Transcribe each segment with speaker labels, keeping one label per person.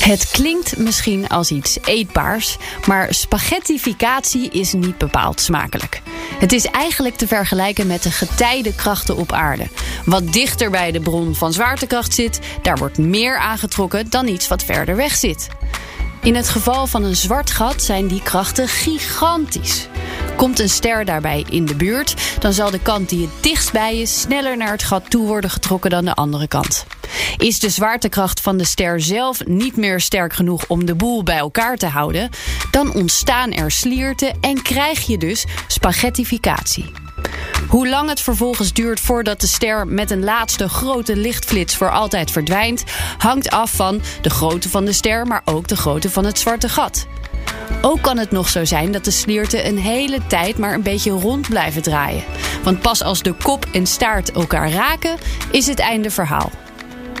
Speaker 1: Het klinkt misschien als iets eetbaars, maar spaghettificatie is niet bepaald smakelijk. Het is eigenlijk te vergelijken met de getijdenkrachten op aarde. Wat dichter bij de bron van zwaartekracht zit, daar wordt meer aangetrokken dan iets wat verder weg zit. In het geval van een zwart gat zijn die krachten gigantisch. Komt een ster daarbij in de buurt, dan zal de kant die het dichtst bij is sneller naar het gat toe worden getrokken dan de andere kant. Is de zwaartekracht van de ster zelf niet meer sterk genoeg om de boel bij elkaar te houden, dan ontstaan er slierten en krijg je dus spaghettificatie. Hoe lang het vervolgens duurt voordat de ster met een laatste grote lichtflits voor altijd verdwijnt, hangt af van de grootte van de ster, maar ook de grootte van het zwarte gat. Ook kan het nog zo zijn dat de slierten een hele tijd maar een beetje rond blijven draaien. Want pas als de kop en staart elkaar raken, is het einde verhaal.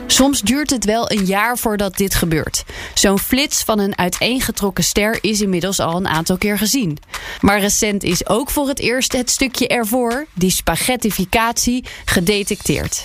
Speaker 1: Soms duurt het wel een jaar voordat dit gebeurt. Zo'n flits van een uiteengetrokken ster is inmiddels al een aantal keer gezien. Maar recent is ook voor het eerst het stukje ervoor, die spaghettificatie, gedetecteerd.